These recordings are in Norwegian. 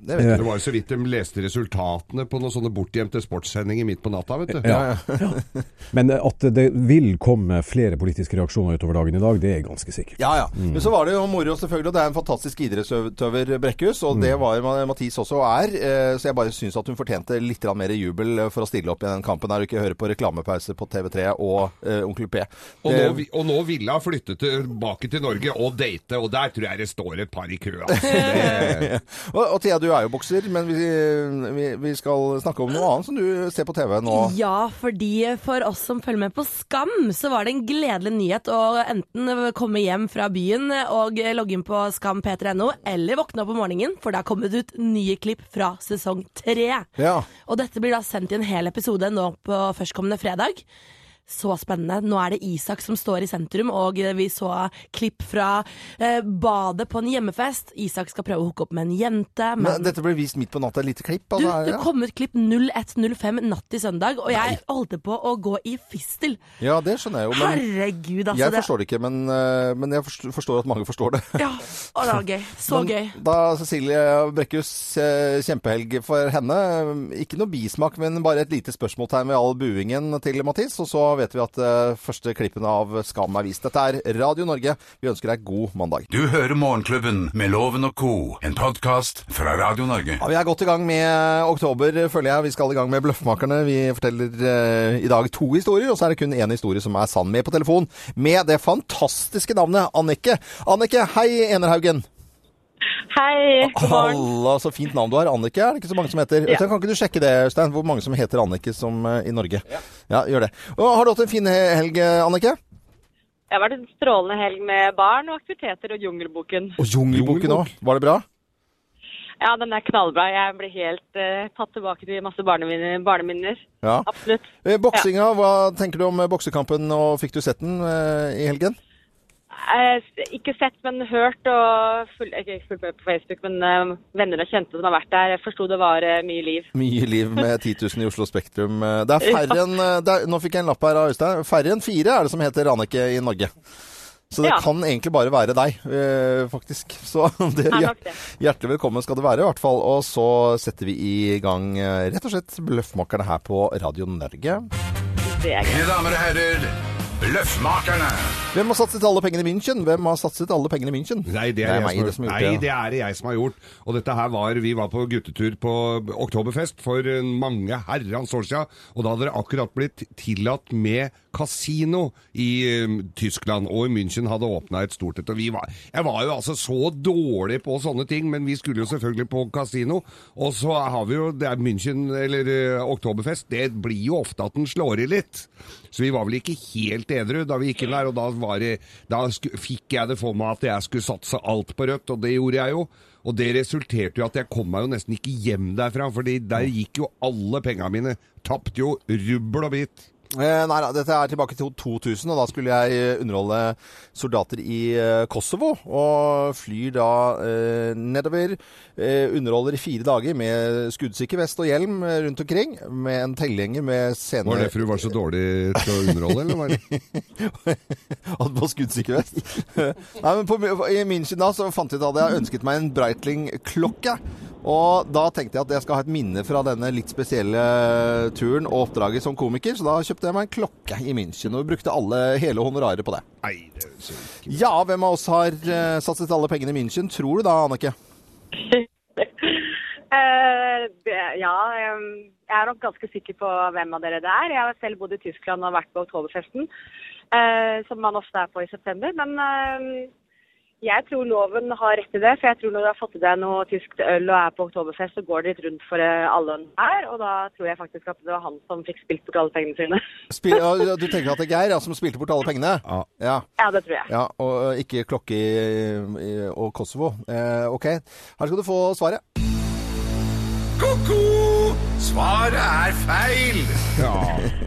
Det vet jeg. Det var jo så vidt de leste resultatene på noen sånne bortgjemte sportssendinger midt på natta, vet du. Ja. Men eh, at det vil komme flere politiske reaksjoner utover dagen i dag, det er ganske sikkert. Ja, ja. Men så var det jo moro, selvfølgelig. Og det er en fantastisk idrettsutøver, Brekkhus. Og det var jo Mathis også og er. eh, Så jeg bare syns at hun fortjente litt grann mer jubel eh, for å stille opp i den kampen her, og ikke høre på reklamepause på TV3 og eh, Onkel P. Og nå, Det- vi- og nå ville hun flytte tilbake til Norge og date, og der tror jeg det står et par i kø. Altså. Det- og, og Thea, du er jo bokser, men vi, vi, vi skal snakke om noe annet som du ser på TV nå. Ja, fordi for oss som følger med på Skam, så var det en gledelig nyhet å enten komme hjem fra byen og logge inn på skam.p3.no, eller våkne opp om morgenen, for det har kommet ut nye klipp fra sesong tre. Ja. Og dette blir da sendt i en hel episode nå på førstkommende fredag. Så spennende. Nå er det Isak som står i sentrum, og vi så klipp fra eh, badet på en hjemmefest. Isak skal prøve å hooke opp med en jente. Men Men dette ble vist midt på natta, et lite klipp. du, Altså, det kom ut klipp 01.05 natt til søndag, og jeg holdt på å gå i fistel. ja. ja, det skjønner jeg jo. Men Herregud, altså. jeg forstår det ikke, men, eh, men jeg forstår- forstår at mange forstår det. Ja, og det var gøy. Så Men gøy. Da Cecilie Brekkhus, eh, kjempehelg for henne. Ikke noe bismak, men bare et lite spørsmålstegn ved all buingen til Mathis. Og så vet vi at eh, første klippen av Skam er vist. Dette er Radio Norge. Vi ønsker deg god mandag. Du hører Morgenklubben med Loven og Co., en podkast fra Radio Norge. Ja, vi er godt i gang med oktober, føler jeg. Vi skal i gang med Bløffmakerne. Vi forteller eh, i dag to historier, og så er det kun én historie som er sann. Med på telefon med det fantastiske navnet Annike. Annike, hei, Enerhaugen. Hei, god morgen. Halla, så fint navn du har. Annike er det ikke så mange som heter. Øystein, kan ikke du sjekke det, Øystein? Hvor mange som heter Annike som, eh, i Norge? Ja. gjør det. Og, har du hatt en fin he- helg, eh, Annike? Det har vært en strålende helg med barn og aktiviteter og Jungelboken. Og Jungelboken òg. Var det bra? Ja, den er knallbra. Jeg ble helt eh, tatt tilbake til masse barneminner. barneminner. Ja. Absolutt. Eh, Boksinga, hva tenker du om eh, boksekampen, og fikk du sett den eh, i helgen? Eh, ikke sett, men hørt og full, ikke fulgt med på Facebook, men eh, venner og kjente som har vært der. Jeg forsto det var eh, mye liv. Mye liv med 10 000 i Oslo Spektrum. Eh, Det er færre enn eh, det er, Nå fikk jeg en lapp her av Øystein. Færre enn fire er det som heter Annike i Norge. Så det Ja. kan egentlig bare være deg, eh, faktisk. Så det, Er nok det. hjertelig velkommen skal du være, i hvert fall. Og så setter vi i gang eh, rett og slett Bløffmakerne her på Radio Norge. Det er gøy. Mine damer og herrer, Løffmakerne. Hvem har satset alle pengene i München? Hvem har satset alle pengene i München? Nei, det er, meg jeg, det som som har, har nei, gjort det det. er det jeg som har gjort. Og dette her var Vi var på guttetur på Oktoberfest for eh, mange herrens år siden. Og da hadde det akkurat blitt tillatt med kasino i eh, Tyskland. Og i München hadde åpna et stort et. Og vi var, jeg var jo altså så dårlig på sånne ting, men vi skulle jo selvfølgelig på kasino. Og så har vi jo det er München, eller eh, Oktoberfest, det blir jo ofte at den slår i litt. Så vi var vel ikke helt edru da vi gikk inn der, og da, var det, da sku, fikk jeg det for meg at jeg skulle satse alt på rødt, og det gjorde jeg jo. Og det resulterte jo at jeg kom meg jo nesten ikke hjem derfra, fordi der gikk jo alle pengene mine. Tapt jo rubbel og bit. Eh, Nei, nei, dette er tilbake til 2000, og da skulle jeg eh, underholde soldater i eh, Kosovo. Og flyr da eh, nedover. Eh, underholder i fire dager med skuddsikker vest og hjelm eh, rundt omkring. Med en tellegjenger med scener... Var det derfor du var så dårlig til å underholde, eller? Var det? Hadde på skuddsikker vest. Nei, men på, I München da så fant jeg ut at jeg ønsket meg en Breitling-klokke. Og da tenkte jeg at jeg skal ha et minne fra denne litt spesielle turen og oppdraget som komiker, så da kjøpte jeg meg en klokke i München og brukte alle, hele honoraret på det. Nei, det er så ikke. Ja, hvem av oss har eh, satset alle pengene i München, tror du da, Annike? Eh, det, ja, em, jeg er nok ganske sikker på hvem av dere det er. Jeg har selv bodd i Tyskland og vært på Oktoberfesten, eh, som man ofte er på i september. Men em, jeg tror loven har rett i det, for jeg tror når du har fått i deg noe tysk øl og er på Oktoberfest, så går det litt rundt for eh, alle her. Og da tror jeg faktisk at det var han som fikk spilt bort alle pengene sine. Spil, ja, du tenker at det er Geir ja, som spilte bort alle pengene? Ja. ja. Ja, det tror jeg. Ja, og eh, ikke klokke i, i, og Kosovo. Eh, ok, her skal du få svaret. Ko-ko! Svaret er feil! Ja.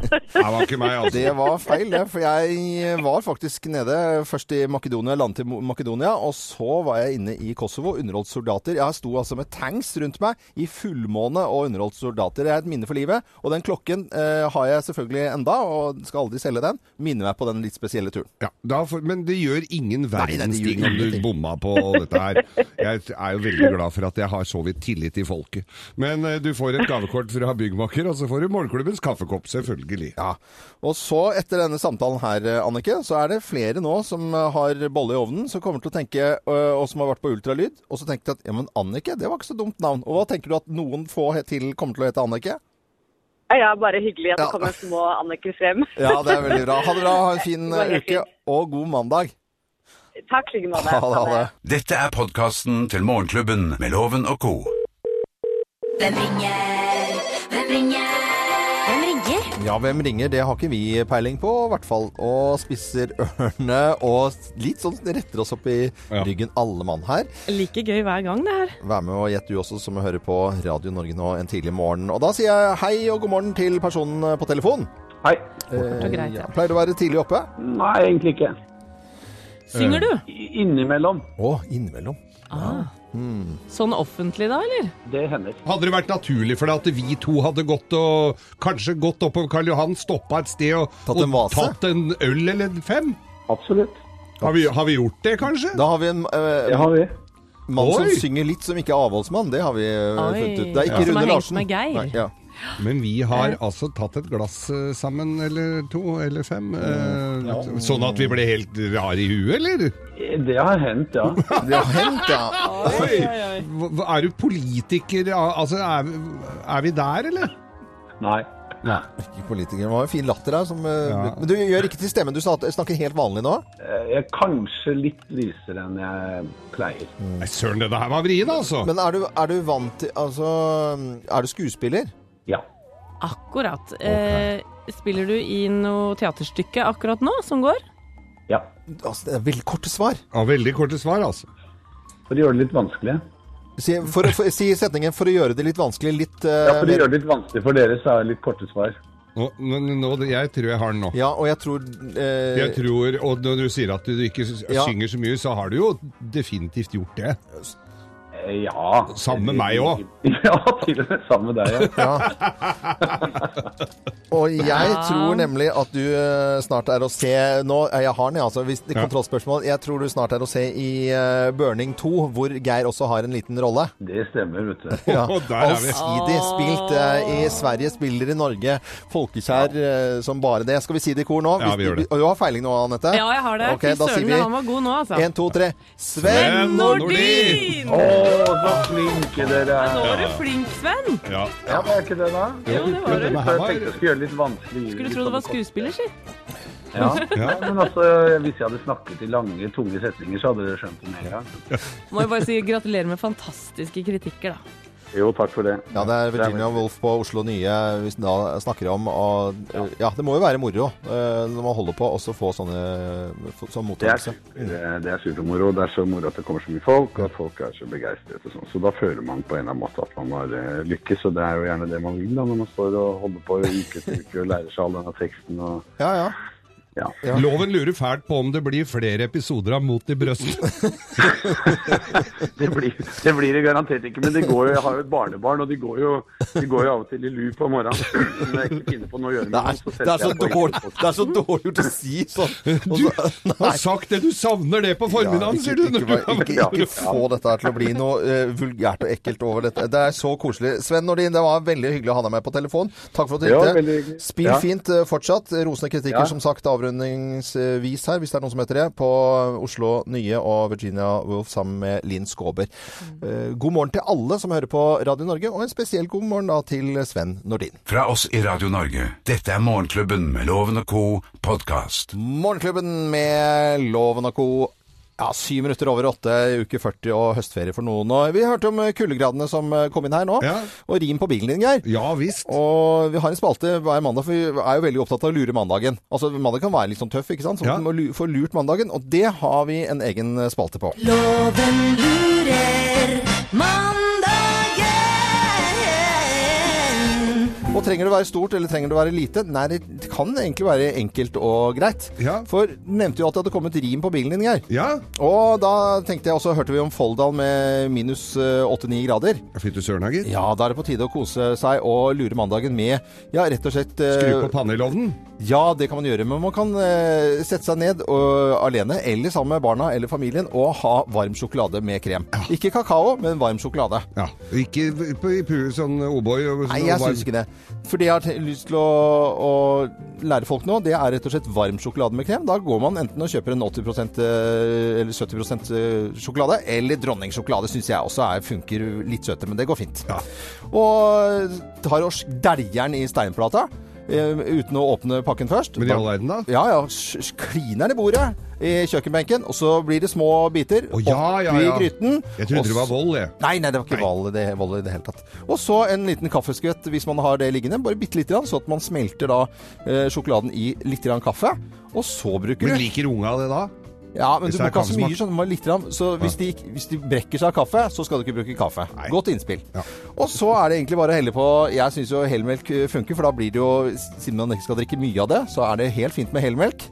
Det var ikke meg, altså. Det var feil, det. For jeg var faktisk nede først i Makedonia, landet til Mo- Makedonia. Og så var jeg inne i Kosovo, underholdt soldater. Jeg sto altså med tanks rundt meg i fullmåne og underholdt soldater. Det er et minne for livet. Og den klokken eh, har jeg selvfølgelig enda, og skal aldri selge den. Minner meg på den litt spesielle turen. Ja, da får- men det gjør Nei, nei, ingen det verdens gjør ting om du ingenting. bomma på dette her. Jeg er jo veldig glad for at jeg har så vidt tillit i folket. Men eh, du får et gavekort fra byggmaker, og så får du morgenklubbens kaffekopp, selvfølgelig. Ja. Og så, etter denne samtalen her, Annike, så er det flere nå som eh, har bolle i ovnen, som kommer til å tenke, øh, og som har vært på ultralyd, og så tenker de at ja, men Annike, det var ikke så dumt navn. Og hva tenker du at noen få he- til kommer til å hete Annike? Ja, bare hyggelig at Ja. det kommer små Anniker frem. Ja, det er veldig bra. Ha det bra, ha en fin Det var øh, helt uke, fint. og god mandag. Takk, i like måte. Ha det, ha det. Dette er podkasten til Morgenklubben med Loven og co. Hvem ringer? Hvem ringer? Hvem ringer? Ja, hvem ringer? Det har ikke vi peiling på, i hvert fall. Og spisser ørene, og litt sånn retter oss opp i Ja. ryggen alle mann her. Like gøy hver gang, det her. Vær med og gjett du også som hører på Radio Norge nå en tidlig morgen. Og da sier jeg hei og god morgen til personen eh, på telefon. Hei. Eh, og greit, ja. Pleier du å være tidlig oppe? Nei, egentlig ikke. Synger Eh. du? I- Innimellom. Å, innimellom. Ah. Sånn offentlig da, eller? Det hender. Hadde det vært naturlig for deg at vi to hadde gått og kanskje gått oppover Karl Johan, stoppa et sted og Tatt en og vase? tatt en øl eller fem? Absolutt. Har vi, har vi gjort det, kanskje? Da har vi en eh, Det har vi. mann som Oi! synger litt, som ikke er avholdsmann. Det har vi eh, Oi. funnet ut. Det er Ja. ikke Som har Rune hengt Larsen. med Geir. Nei, ja. Men vi har altså tatt et glass eh, sammen, eller to, eller fem. eh, Sånn at vi ble helt rare i huet, eller? Eh, Det har hendt, ja. Det har hendt, ja. Oi! Hva- hva- Er du politiker? Al- Altså, er, vi- er vi der, eller? Nei. Ikke politiker. Det var en fin latter her. Som, eh, Ja. Men du gjør ikke til stemmen. Du sa at- snakker helt vanlig nå. Eh, Jeg er kanskje litt lysere enn jeg pleier. Nei, søren, det her var vrien, altså. Men er du, er du vant til Altså, er du skuespiller? Ja. Akkurat. Eh, spiller du i noe teaterstykke akkurat nå som går? Ja. altså, det er veldig korte svar. Ja, veldig korte svar, altså. For å gjøre det litt vanskelig. Si, for, å- for, si setningen 'for å gjøre det litt vanskelig', litt eh, Ja, for å mer- gjøre det litt vanskelig for dere, så er det litt korte svar. Nå, nå, nå, jeg tror jeg har den nå. Ja, og jeg tror eh, Jeg tror, og Når du sier at du ikke s- Ja. synger så mye, så har du jo definitivt gjort det. Eh, Ja. Samme med meg òg. Ja, til og med sammen med deg, ja. Og jeg tror nemlig at du eh, snart er å se Nå, eh, jeg har den, jeg, altså. Hvis, Ja. Kontrollspørsmål. Jeg tror du snart er å se i eh, Burning 2, hvor Geir også har en liten rolle. Det stemmer, vet du. Ja. Og der er vi. Allsidig spilt eh, i Sverige, spiller i Norge. Folkekjær eh, som bare det. Skal vi si det i kor nå? Ja, vi gjør det. Og du har feiling nå, Anette? Ja, jeg har det. Ok, Fy da sier søren, vi men han var god nå, altså. én, to, tre. Sven! Sven Nordin! Å, så flinke dere Nå er. var du flink, Sven. Ja. Ja, var jeg ikke det, da? Jo, det var du. denne Så her jeg var, tenkte jeg skulle gjøre det litt vanskelig. Skulle tro det var skuespiller, si. Ja. Ja. Nei, men altså, hvis jeg hadde snakket i lange, tunge setninger, så hadde dere skjønt det med en gang. Må jo bare si gratulerer med fantastiske kritikker, da. Jo, takk for det. Ja, det er Virginia Woolf på Oslo Nye vi da snakker om. Og, ja, det må jo være moro eh, når man holder på også å få sånne få- sånn Det er, mottakelse. super- det- det er supermoro. Det er så moro at det kommer så mye folk, og at folk er så begeistret og sånn. Så da føler man på en eller annen måte at man har eh, lykkes, og det er jo gjerne det man vil da, når man står og holder på i uke etter uke og lærer seg all denne teksten og Ja, ja. ja. Loven lurer fælt på om det blir flere episoder av Mot i Altså, brøstet. Det blir, det blir det garantert ikke, men det går jo, jeg har jo et barnebarn, og de går jo, de går jo av og til i loop om morgenen. Når jeg ikke finner på noe å gjøre med Det dem, er, så det, er så setter jeg på dårlig, Xbox. det er så dårlig gjort å si sånn. Og Du så- har sagt det! Du savner det på formiddagen, sier du! ikke, når ikke, du har vært- ikke, ikke, ikke få dette her til å bli noe eh, vulgært og ekkelt over dette. Det er så koselig. Sven Nordin, det var veldig hyggelig å ha deg med på telefon. Takk for at du Ja, ringte. veldig hyggelig. Spill Ja. fint eh, fortsatt. Rosende kritikker, Ja. som sagt, avrundingsvis her, hvis det er noen som heter det, på Oslo Nye og Virginia Woolf sammen med Linn Skåber. Eh, God morgen til alle som hører på Radio Norge, og en spesiell god morgen da til Sven Nordin. Fra oss i Radio Norge. Dette er Morgenklubben med Loven og co. podkast. Morgenklubben med Loven og Co. Ja, Syv minutter over åtte, uke 40 og høstferie for noen. Og vi hørte om kuldegradene som eh, kom inn her nå, Ja. og rim på bilen din, Geir. Ja visst. Og vi har en spalte hver mandag, for vi er jo veldig opptatt av å lure mandagen. Altså, mandag kan være litt sånn tøff, ikke sant? Så Ja. vi må lu- få lurt mandagen, og det har vi en egen eh, spalte på. Loven lurer mandagen. Og trenger det være stort, eller trenger det være lite? Nei, det kan egentlig være enkelt og greit. Ja. For nevnte jo at det hadde kommet rim på bilen din, Geir. Ja. Og da tenkte jeg også, hørte vi om Folldal med minus eh, 8-9 grader. Fy til søren, Hager. Ja, da er det på tide å kose seg og lure mandagen med, ja, rett og slett eh, Skru på pannelovnen. Ja, det kan man gjøre, men man kan eh, sette seg ned og, alene, eller sammen med barna eller familien, og ha varm sjokolade med krem. Ikke kakao, men varm sjokolade. Ja. Ikke på- i pu sånn O'boy og sånn Nei, jeg varm- syns ikke det. For det jeg har te- lyst til å, å lære folk nå, det er rett og slett varm sjokolade med krem. Da går man enten og kjøper en 80 eh, eller 70 eh, sjokolade, eller dronningsjokolade syns jeg også er, funker litt søte, men det går fint. Ja. Og tar og deljern i steinplata. eh, Uten å åpne pakken først. Men i all verden, da? Ja, ja. s- s- Kliner den i bordet i kjøkkenbenken, og så blir det små biter. Å, ja, ja, ja. Opp i gryten. Jeg trodde og det var så- vold, jeg. Nei, nei, det var ikke vold i det, vold i det hele tatt. Og så en liten kaffeskvett hvis man har det liggende. Bare bitte lite grann, så at man smelter da eh, sjokoladen i litt grann kaffe. Og så bruker Men du liker unga det da? Ja, men hvis du det må er ikke ha så mye kaffesmak. sånn, bare litt grann. Så hvis de, ikke- hvis de brekker seg av kaffe, så skal du ikke bruke kaffe. Nei. Godt innspill. Ja. Og så er det egentlig bare å helle på Jeg syns jo helmelk eh, funker, for da blir det jo Siden man ikke skal drikke mye av det, så er det helt fint med helmelk.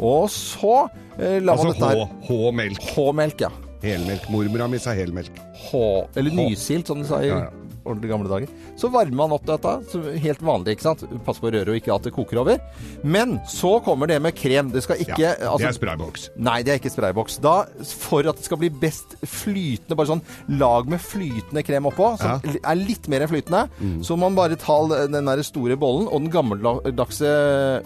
Og så eh, lar Altså man dette her H- H-melk. H-melk, ja. Helmelk. Mormora mi sa helmelk. H, eller nysilt, som de sa i Ja, ja. ordentlige gamle dager. Så varmer man opp dette, så helt vanlig, ikke sant? Pass på å røre og ikke at det koker over. Men så kommer det med krem. Det skal Ja, ikke det er altså, sprayboks. Nei, det er ikke sprayboks. Da, for at det skal bli best flytende, bare sånn lag med flytende krem oppå, som er litt mer enn flytende, Mm. så må man bare ta den der store bollen og den gammeldagse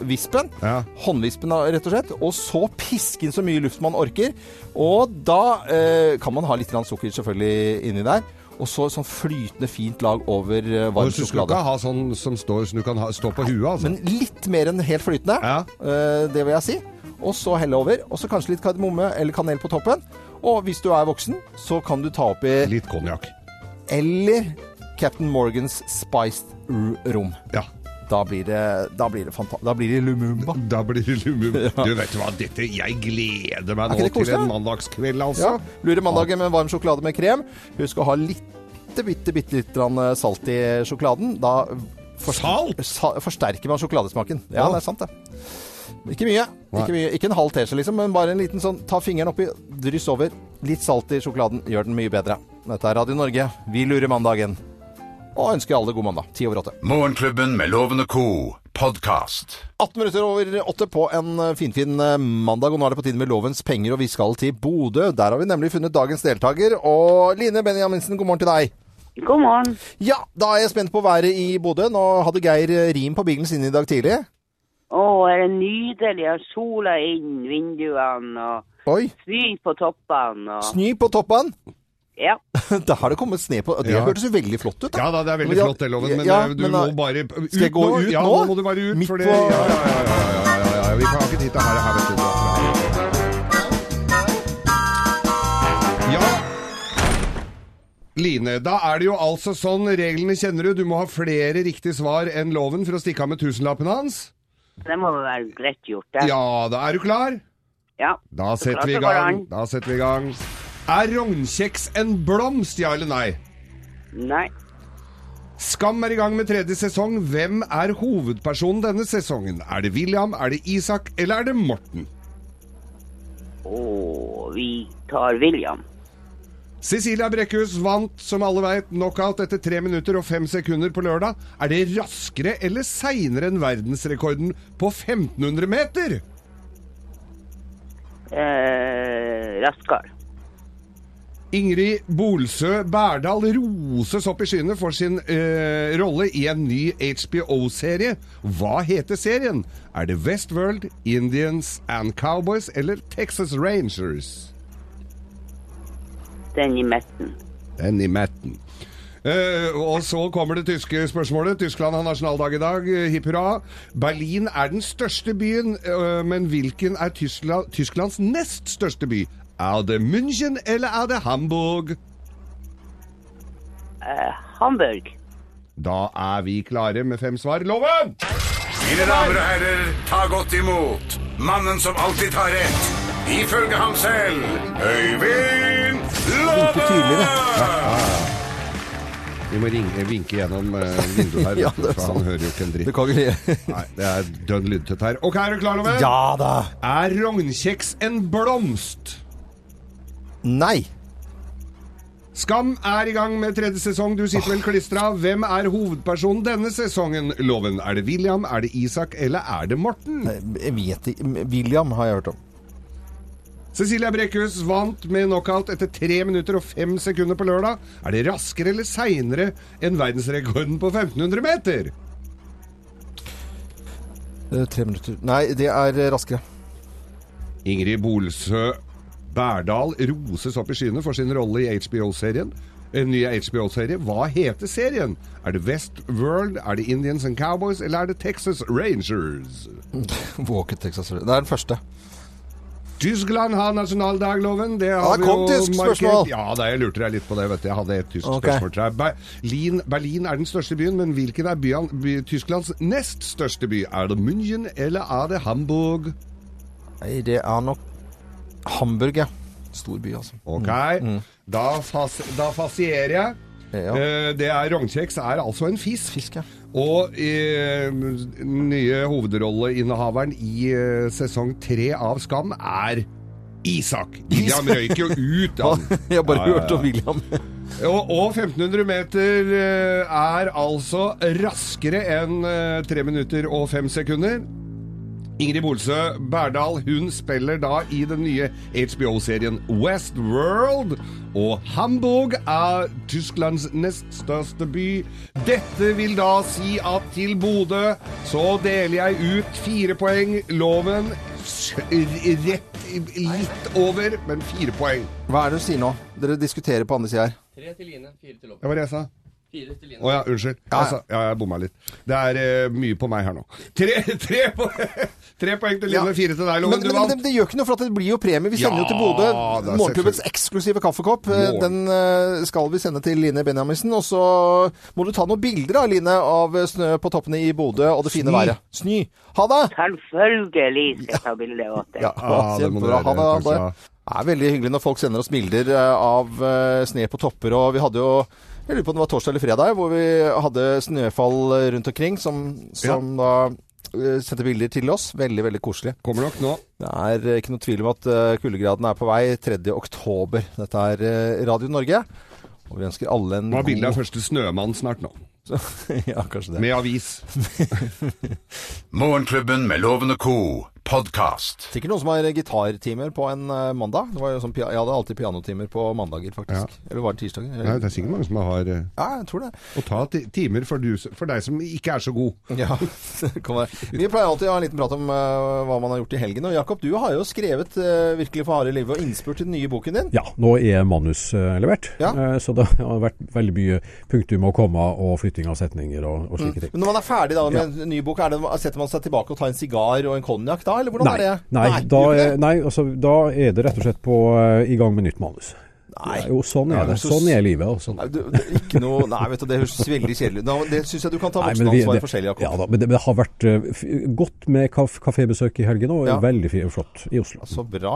vispen, Ja. håndvispen da, rett og slett, og så piske inn så mye luft man orker, og da eh, kan man ha litt grann sukker selvfølgelig inni der, og så sånn flytende fint lag over eh, Og varm så skal du ikke sjokolade. ha sånn som står, så du kan ha, stå på huet, altså. Men litt mer enn helt flytende, Ja. eh, det vil jeg si. Og så helle over, og så kanskje litt kardemomme eller kanel på toppen. Og hvis du er voksen, så kan du ta oppi Litt konjakk. eller Captain Morgans spiced rom. Ja. Da blir det, da blir det, fanta da blir det Lumumba. Da blir det lumum. Du vet du hva, dette Jeg gleder meg Er ikke nå det til en koselig? mandagskveld, altså. Ja. Lurer mandagen med varm sjokolade med krem. Husk å ha litt, bitte, bitte litt grann eh, salt i sjokoladen. Da Salt? sa- forsterker man sjokoladesmaken. Ja, Ja. det er sant, det. Ikke mye. Nei. Ikke, mye. ikke en halv teskje, liksom, men bare en liten sånn Ta fingeren oppi, dryss over. Litt salt i sjokoladen gjør den mye bedre. Dette er Radio Norge. Vi lurer mandagen. Og ønsker alle god mandag. Ti over åtte. Morgenklubben med Loven og Co. Podcast. 18 minutter over åtte på en finfin fin eh, mandag, og nå er det på tide med lovens penger, og vi skal til Bodø. Der har vi nemlig funnet dagens deltaker. Og Line Benjaminsen, god morgen til deg. God morgen. Ja, da er jeg spent på været i Bodø. Nå hadde Geir eh, rim på bilen sin i dag tidlig. Å, er det nydelig. Og Sola inn vinduene og Oi, snø på toppene og snø på toppen. Ja. Da har det kommet sne på. Det Ja. hørtes jo veldig flott ut, da. Ja da, det er veldig Ja, flott det, Loven, men ja, eh, du men, må eh, bare ut nå. skal jeg gå ut ja, nå? nå må du bare ut, Midt for det på- ja, ja, ja, ja, ja, ja, ja, ja, Vi kan ikke titte her, her, vet du. Ja. Line, da er det jo altså sånn reglene kjenner du. Du må ha flere riktige svar enn loven for å stikke av med tusenlappen hans. Det må vel være greit gjort, det. Ja, da er du klar? ja. Da setter vi i klart det går gang. an. Da setter vi i gang. Er rognkjeks en blomst, ja eller nei? Nei. Skam er i gang med tredje sesong. Hvem er hovedpersonen denne sesongen? Er det William, er det Isak eller er det Morten? Å, vi tar William. Cecilia Brekkhus vant, som alle veit, knockout etter tre minutter og fem sekunder på lørdag. Er det raskere eller seinere enn verdensrekorden på 1500 meter? Eh, raskere. Ingrid Bolsø Berdal roses opp i skyene for sin eh, rolle i en ny HBO-serie. Hva heter serien? Er det Westworld, Indians and Cowboys eller Texas Rangers? Den i midten. Den i metten. Eh, og så kommer det tyske spørsmålet. Tyskland har nasjonaldag i dag. eh, Hipp hurra. Berlin er den største byen, eh, men hvilken er Tyskland, Tysklands nest største by? Er det München eller er det Hamburg? Hamburg. Da er vi klare med fem svar. Loven! Mine damer og herrer, ta godt imot mannen som alltid tar rett. Ifølge ham selv, Øyvind Love! Vi må ringe, vinke gjennom eh, vinduet her, Ja, vet du, det er for han sant. hører jo ikke en Du dritt. kan ikke Nei, det er dønn lydtett her. Ok, er du klar, Loven? Ja da. Er rognkjeks en blomst? Nei. Skam er i gang med tredje sesong. Du sitter vel klistra. Hvem er hovedpersonen denne sesongen, Loven? Er det William, er det Isak, eller er det Morten? Jeg vet ikke. William har jeg hørt om. Cecilia Brekkhus vant med knockout etter tre minutter og fem sekunder på lørdag. Er det raskere eller seinere enn verdensrekorden på 1500 meter? Eh, Tre minutter Nei, det er raskere. Ingrid Bolsø Berdal roses opp i skyene for sin rolle i HBO-serien. En ny HBO-serie. Hva heter serien? Er det Westworld, er det Indians and Cowboys, eller er det Texas Rangers? Walk it, Texas. Det er den første. Tyskland har nasjonaldagloven. Det har Ja, vi kom jo tysk markert. spørsmål. Ja, da, jeg lurte deg litt på det. vet du. Jeg hadde et tysk Ok. spørsmål til deg. Berlin, Berlin er den største byen, men hvilken er byen, by, Tysklands nest største by? Er det München eller er det Hamburg? Nei, det er nok Hamburg, ja. Stor by, altså. Ok, Da, fas, da fasierer jeg. Ja. Eh, Det er Rognkjeks er altså en fisk. Fisk, ja. Og eh, nye hovedrolleinnehaveren i eh, sesong tre av Skam er Isak. William røyk jo ut, han. Jeg har bare Ja, ja, ja. hørt om William. Og, og 1500 meter eh, er altså raskere enn eh, 3 minutter og 5 sekunder. Ingrid Bolsø Berdal hun spiller da i den nye HBO-serien Westworld. Og Hamburg er Tysklands nest største by. Dette vil da si at til Bodø så deler jeg ut fire poeng. Loven s- rett litt over, men fire poeng. Hva er det du sier nå? Dere diskuterer på andre sida her. Det var det jeg sa. Å ja, unnskyld. Altså, ja, jeg bomma litt. Det er eh, mye på meg her nå. Tre, tre, po tre poeng til Line, fire til Men, deg, Loven. men, Du men det, vant. det gjør ikke noe, for at det blir jo premie. Vi sender jo til Ja, det Bodø er morgenklubbens selvfølgelig. eksklusive kaffekopp. Eh, Morgen. Den eh, skal vi sende til Line Benjaminsen. Og så må du ta noen bilder av Line av snø på toppene i Bodø og det fine været. Snø. Ha det! Selvfølgelig skal jeg ta bilde av det. Ja, Ja, det må du kjempebra. Ha gjøre. det. Ha Takk skal det. du ha. Det er veldig hyggelig når folk sender oss bilder eh, av eh, sne på topper, og vi hadde jo jeg lurer på om det var torsdag eller fredag, hvor vi hadde snøfall eh, rundt omkring, som, som da eh, sendte bilder til oss. Veldig, veldig koselig. Kommer nok nå. Det er eh, ikke noe tvil om at eh, kuldegraden er på vei 3. oktober. Dette er eh, Radio Norge, og vi ønsker alle en Nå er bildet av første snømann snart nå. ja, kanskje det. Med avis. Morgenklubben med Loven og co. podkast. Sikkert noen som har eh, gitartimer på en eh, mandag. Det var jo sånn, pia- jeg hadde alltid pianotimer på mandager, faktisk. Eller var det tirsdager? Nei, det er sikkert mange som har eh, Ja, jeg tror det. å ta ti- timer for, du, for deg som ikke er så god. Ja, det kan være. Vi pleier alltid å ha en liten prat om eh, hva man har gjort i helgen. Og Jakob, du har jo skrevet eh, virkelig for harde livet og innspurt til den nye boken din. Ja, nå er manus eh, levert, Ja. Eh, så det har vært veldig mye punktum og komma og flytting av setninger og, og slike ting. Mm. Men når man er ferdig da med en ny bok, er det, setter man seg tilbake og tar en sigar og en konjakk da, eller hvordan Nei, er det? nei, da, gjør ikke er- det? nei altså, da er det rett og slett på, eh, i gang med nytt manus. Nei. Jo, sånn er det. så- Sånn er livet. Og sånn. Nei, du, det, er ikke noe, nei, vet du, det høres veldig kjedelig ut. Nå, Det syns jeg du kan ta Nei, men vi- voksenansvaret det- for selv, Jakob. Ja, da, men det, men det har vært eh, f- godt med kaf kafébesøk i helgen, og Ja. Altså. veldig fi- flott i Oslo. Så bra.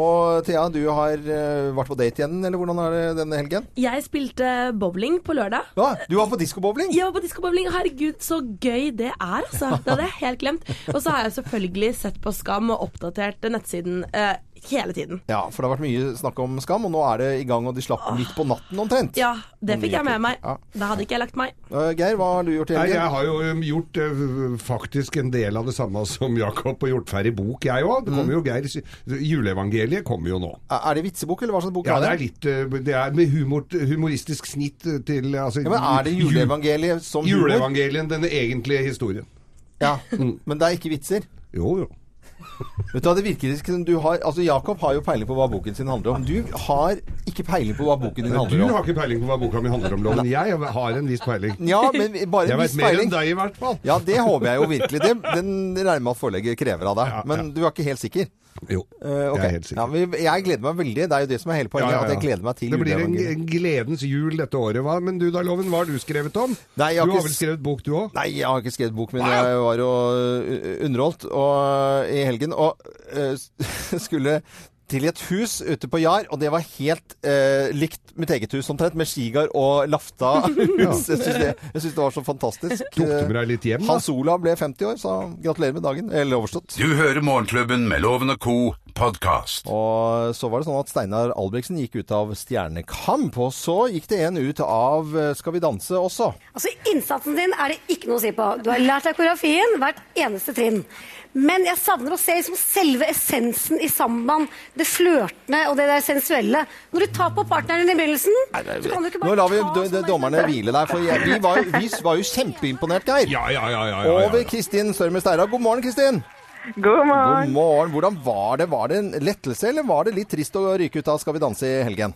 Og Thea, du har eh, vært på date igjen, eller hvordan er det denne helgen? Jeg spilte bowling på lørdag. Ja, du var på diskobowling! Jeg var på diskobowling. Herregud, så gøy det er, altså. Det hadde jeg helt glemt. Og så har jeg selvfølgelig sett på Skam og oppdatert nettsiden eh, hele tiden. Ja, for det har vært mye snakk om skam, og nå er det i gang, og de slapp midt på natten omtrent. Ja, det fikk jeg med meg. Ja. Da hadde ikke jeg lagt meg. Eh, Geir, hva har du gjort i Nei, helgen? jeg har jo um, gjort eh, faktisk en del av det samme som Jakob og gjort ferdig bok, jeg òg. Det kommer jo Geir Juleevangeliet kommer jo nå. Er er det vitsebok, eller hva slags bok Ja, det er er det? litt eh, Det er med humor, humoristisk snitt eh, til altså, Ja, men er det ju- juleevangeliet som humor? Juleevangelien, den egentlige historien. Ja, Mm. men det er ikke vitser. Jo, jo. Vet du hva, det virker ikke som du har Altså, Jakob har jo peiling på hva boken sin handler om. Du har ikke peiling på hva boken din Men Du handler om. har ikke peiling på hva boka mi handler om, Loven. Jeg har en viss peiling. Ja, men bare Jeg en veit viss mer peiling. enn deg, i hvert fall. Ja, det håper jeg jo virkelig. Det, den regner jeg med at forlegger krever av deg. Ja, Men ja. du er ikke helt sikker? Jo, Eh, ok. jeg er helt Ja, sikker. men jeg gleder meg veldig. Det er jo det som er hele poenget. Ja, ja, ja. At jeg gleder meg til det blir en, juleevangeliet. en gledens jul dette året. Hva? Men du da, Loven, hva har du skrevet om? Nei, jeg har du har ikke vel s- skrevet bok, du òg? Nei, jeg har ikke skrevet bok, men Wow. jeg var jo ø, underholdt og, eh, i helgen. Og ø, skulle til et hus ute på Jar, og det var helt ø, likt mitt eget hus omtrent, med Skigar og Lafta hus. Jeg syns det, jeg synes det var så fantastisk. Tok du med deg litt hjem, da? Eh, Hans Olav ble 50 år, så gratulerer med dagen. Eller overstått. Du hører Morgenklubben med Loven og co. podkast. Og så var det sånn at Steinar Albrigtsen gikk ut av Stjernekamp, og så gikk det en ut av ø, Skal vi danse også. Altså, Innsatsen din er det ikke noe å si på. Du har lært deg koreografien hvert eneste trinn. Men jeg savner å se liksom selve essensen i samband, det flørtende og det der sensuelle. Når du tar på partneren din i begynnelsen, så kan du ikke bare Nå lar vi ta d- d- sånn- dommerne hvile der, for jeg, vi, var, vi var jo kjempeimponert, Geir. Ja, ja, ja. ja, ja, Over ja. Kristin Sørme Steira. God morgen, Kristin. God God morgen. morgen. Hvordan var det? Var det en lettelse, eller var det litt trist å ryke ut av Skal vi danse i helgen?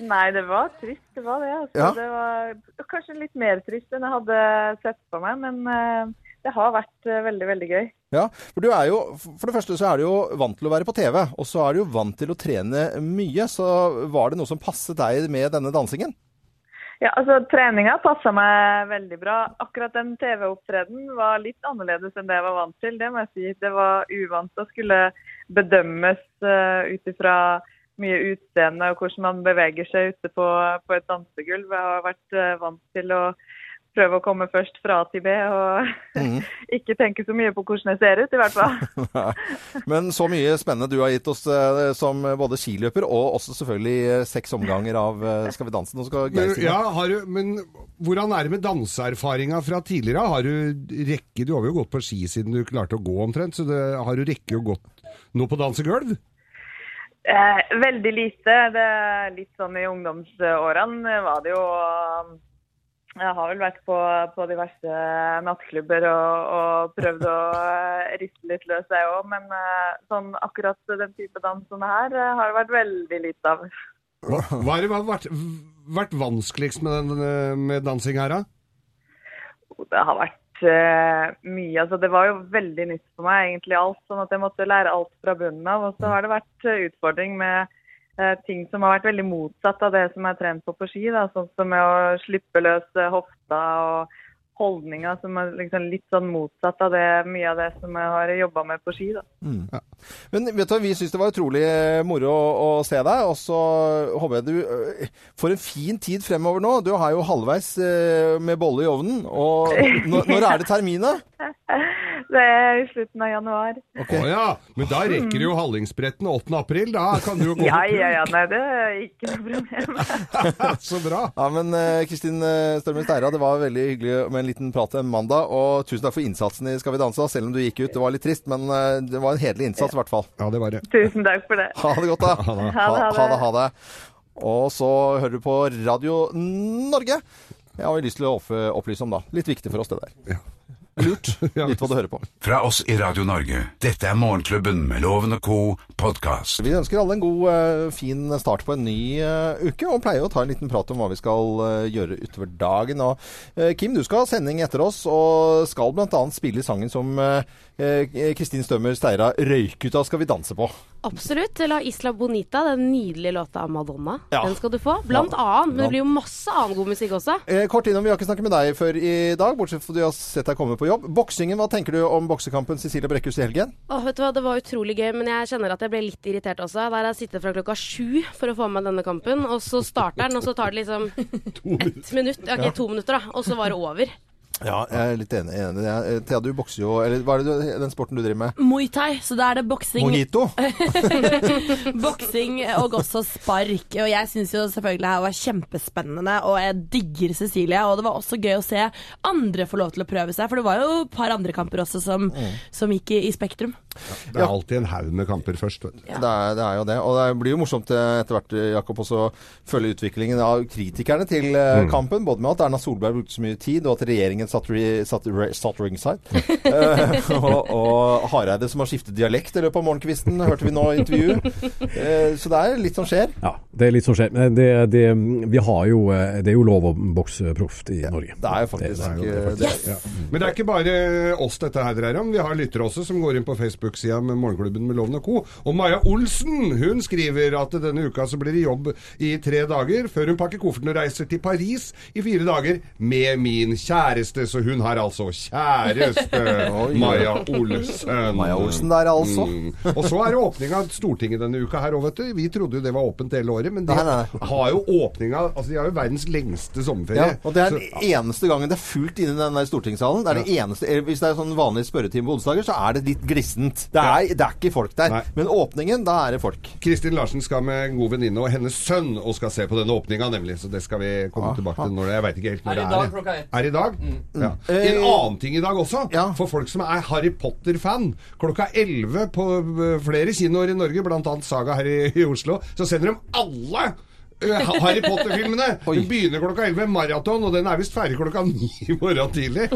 Nei, det var trist. Det var det. Altså. Ja. Det var kanskje litt mer trist enn jeg hadde sett for meg, men eh, det har vært eh, veldig, veldig gøy. Ja, for du er jo, for det første så er du jo vant til å være på TV, og så er du jo vant til å trene mye. Så var det noe som passet deg med denne dansingen? Ja, altså Treninga passa meg veldig bra. Akkurat den TV-opptredenen var litt annerledes enn det jeg var vant til. Det må jeg si. Det var uvant å skulle bedømmes uh, ut ifra mye utseende og hvordan man beveger seg ute på, på et dansegulv. Jeg har vært eh, vant til å prøve å komme først fra A til B og Mm. ikke tenke så mye på hvordan jeg ser ut, i hvert fall. Men så mye spennende du har gitt oss eh, som både skiløper og også selvfølgelig eh, seks omganger av eh, Skal vi danse. Nå skal Geir Men, si noe. ja, har du, men hvordan er det med danseerfaringa fra tidligere? Har du rekke Du har jo gått på ski siden du klarte å gå omtrent, så det, har du rekke å gått noe på dansegulv? Eh, veldig lite. Det er litt sånn I ungdomsårene eh, var det jo um, Jeg har vel vært på, på diverse nattklubber og, og prøvd å eh, riste litt løs, jeg òg. Men eh, sånn, akkurat den type dans som det her eh, har det vært veldig lite av. Hva, hva, har det vært- vært vanskeligst med, den, eh, med dansing her, da? Det har vært eh, mye. Altså, det var jo veldig nytt for meg, egentlig alt. Sånn at jeg måtte lære alt fra bunnen av. Og så har det vært eh, utfordring med eh, ting som har vært veldig motsatt av det som er trent på på ski. Da. Sånn som med å slippe løs eh, hofta og holdninga som er liksom litt sånn motsatt av det, mye av det som jeg har jobba med på ski. Da. Men vet du, hva, vi syns det var utrolig eh, moro å, å se deg, og så håper jeg du øh, får en fin tid fremover nå. Du er jo halvveis øh, med bolle i ovnen, og når, når er det terminet? Det er i slutten av januar. Å ja, men da rekker jo Hallingsbretten 8. april. Da kan du jo gå Ja, på tur. ja, ja. Nei, det er ikke noe problem. Så bra. Ja, men øh, Kristin øh, Strømmen Steira, det var veldig hyggelig med en liten prat en mandag, og tusen takk for innsatsen i Skal vi danse, selv om du gikk ut. Det var litt trist, men øh, det var en hederlig innsats i hvert fall. Ja, det var det. Tusen takk for det. Ha det godt, da. Ha det. Ha det, ha det. ha det. Og så hører du på Radio Norge. Jeg har jo lyst til å opp- opplyse om, da. Litt viktig for oss, det der. Lurt. Ja. Litt hva du hører på. Fra oss i Radio Norge. Dette er Morgenklubben med Loven og co. podkast. Vi ønsker alle en god, eh, fin start på en ny eh, uke, og pleier å ta en liten prat om hva vi skal eh, gjøre utover dagen. Og, eh, Kim, du skal ha sending etter oss, og skal bl.a. spille sangen som eh, eh, Kristin Stømmer Steira røyk ut av Skal vi danse på. Absolutt. La Isla Bonita, den nydelige låta av Madonna, Ja. den skal du få. Blant Ja. annet. Men Ja. det blir jo masse annen god musikk også. Eh, Kort innom, Vi har ikke snakket med deg før i dag, bortsett fra at du har sett deg komme på jobb. Boksingen, hva tenker du om boksekampen Cecilie Brekkhus i helgen? Åh, vet du hva, Det var utrolig gøy, men jeg kjenner at jeg ble litt irritert også. Der har jeg sittet fra klokka sju for å få med meg denne kampen, og så starter den, og så tar det liksom ett minutt, ja, ok, to minutter, da, og så var det over. Ja, jeg er litt enig. enig. Jeg- eh, Thea, du bokser jo Eller hva er det du, den sporten du driver med? Muay thai, så da er det boksing, Mojito? boksing og også spark. Og jeg syns jo selvfølgelig det her var kjempespennende, og jeg digger Cecilie. Og det var også gøy å se andre få lov til å prøve seg, for det var jo et par andre kamper også som, som gikk i, i Spektrum. Det er alltid en haug med kamper først. Vet du. Det, er, det er jo det. Og det blir jo morsomt eh, etter hvert, eh, Jakob, også å følge utviklingen av kritikerne til eh, kampen. Både med at Erna Solberg brukte så mye tid, og at regjeringen satt, re, satt, re, satt ringside. Eh, og, og Hareide som har skiftet dialekt i løpet av morgenkvisten, hørte vi nå i intervjuet. Eh, så det er litt som skjer. Ja, det er litt som skjer. Men det, det, vi har jo, eh, det er jo lov å bokse proft i Norge. Det er jo faktisk Det er jo eh, det, Ja. Men det er ikke bare oss dette her dreier om. Vi har lyttere også som går inn på Facebook-sida med Morgenklubben med Loven og Co. Og Maja Olsen hun skriver at denne uka så blir det jobb i tre dager, før hun pakker kofferten og reiser til Paris i fire dager med min kjæreste. Så hun har altså kjæreste, Maja Olsen. Maja Olsen der, altså. Mm. Og så er det åpning av Stortinget denne uka her òg, vet du. Vi trodde jo det var åpent hele året, men de Nei, nei. har jo åpninga Altså, de har jo verdens lengste sommerferie. Ja, og det er Så- den eneste gangen det er fullt inne i den der stortingssalen. Det er det eneste, eh, hvis det er sånn vanlig spørretime på onsdager, så er det litt glissent. Det er, det er ikke folk der. Nei. Men åpningen, da er det folk. Kristin Larsen skal med en god venninne og hennes sønn og skal se på denne åpninga, nemlig. Så det skal vi komme Ah, tilbake til når det Jeg veit ikke helt Er i når det er. dag jeg. klokka ett. Mm. Er i dag? Ja. En Eh, annen ting i dag også, ja. for folk som er Harry Potter-fan. Klokka 11 på eh, flere kinoer i Norge, bl.a. Saga her i, i Oslo, så sender de alle eh, Ha- Harry Potter-filmene! Den begynner klokka 11, maraton, og den er visst ferdig klokka 9 i morgen tidlig.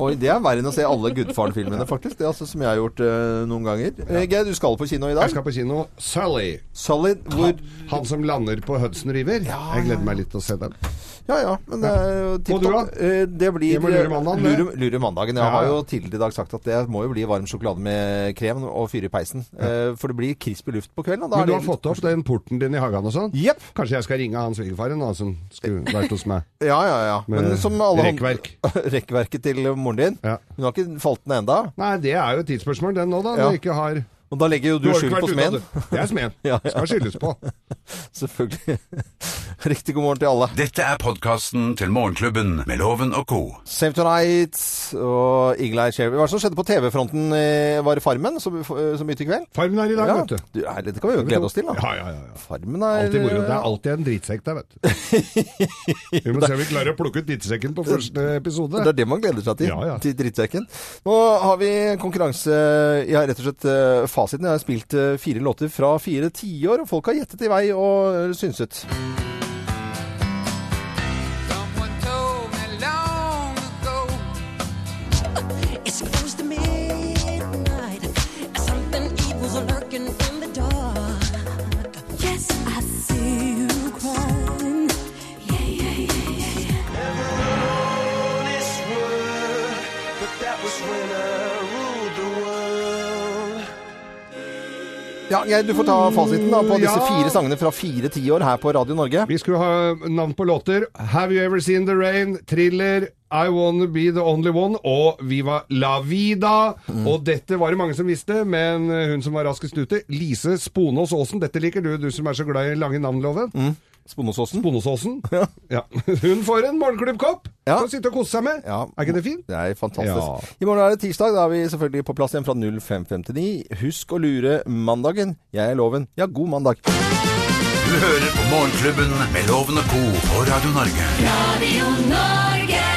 Oi, det er verre enn å se alle Gudfaren-filmene, faktisk. Det er altså som jeg har gjort eh, noen ganger. Eh, Geir, du skal på kino i dag. Jeg skal på kino. Sully. Solid, hvor Han som lander på Hudson River. Jeg gleder meg litt til å se den. Ja ja, men det er jo tipp du, topp. da? Eh, Det blir Det må lure mandagen, det. lure, lure mandagen. Jeg Ja. har jo tidligere i dag sagt at det må jo bli varm sjokolade med krem og fyre i peisen. Eh, For det blir krispy luft på kvelden. Og da Men er du det har fått opp den porten din i hagen og sånn? Jepp. Kanskje jeg skal ringe han svigerfaren da, som skulle vært hos meg. Ja, ja, ja. Men Med som alle hånd- rekkverk. Rekkverket til moren din. Ja. Hun har ikke falt ned enda. Nei, det er jo et tidsspørsmål, den nå, da. Ja. Når du ikke har Og da legger jo du har ikke skyld vært på ute av smeden. det. Det er smeden. Ja, ja. Skal skyldes på. Selvfølgelig. Riktig god morgen til alle. Dette er podkasten til Morgenklubben med Loven og co. Save Tonight og Eagle Eye Cherry. Hva er det som skjedde på TV-fronten? eh, Var det Farmen som, som begynte i kveld? Farmen er i dag, Ja. vet du. Du, nei, dette kan vi jo glede oss til, da. Ja, ja, ja. ja. Farmen er Alltid moro. Det er alltid en drittsekk der, vet du. Vi må se om vi klarer å plukke ut drittsekken på første Det episode. er det man gleder seg til. Ja, ja. Til drittsekken. Nå har vi konkurranse Jeg har rett og slett eh, fasiten. Jeg har spilt eh, fire låter fra fire tiår, og folk har gjettet i vei og eh, synset. Ja, Geir, du får ta fasiten da på disse Ja. fire sangene fra fire tiår her på Radio Norge. Vi skulle ha navn på låter. Have You Ever Seen The Rain, Thriller, I Wanna Be The Only One og Viva La Vida. Mm. Og dette var det mange som visste, men eh, hun som var raskest ute, Lise Sponås Aasen. Dette liker du, du som er så glad i lange navn, Loven. Mm. Sponåsåsen. Sponåsåsen. Ja. Hun får en morgenklubbkopp! Ja. Kan sitte og kose seg med. Er ikke det fint? Det er fantastisk. Ja. I morgen er det tirsdag. Da er vi selvfølgelig på plass igjen fra 0559. Husk å lure mandagen. Jeg er Loven. Ja, god mandag. Du hører på Morgenklubben med Loven og Co. på Radio Norge. Radio Norge.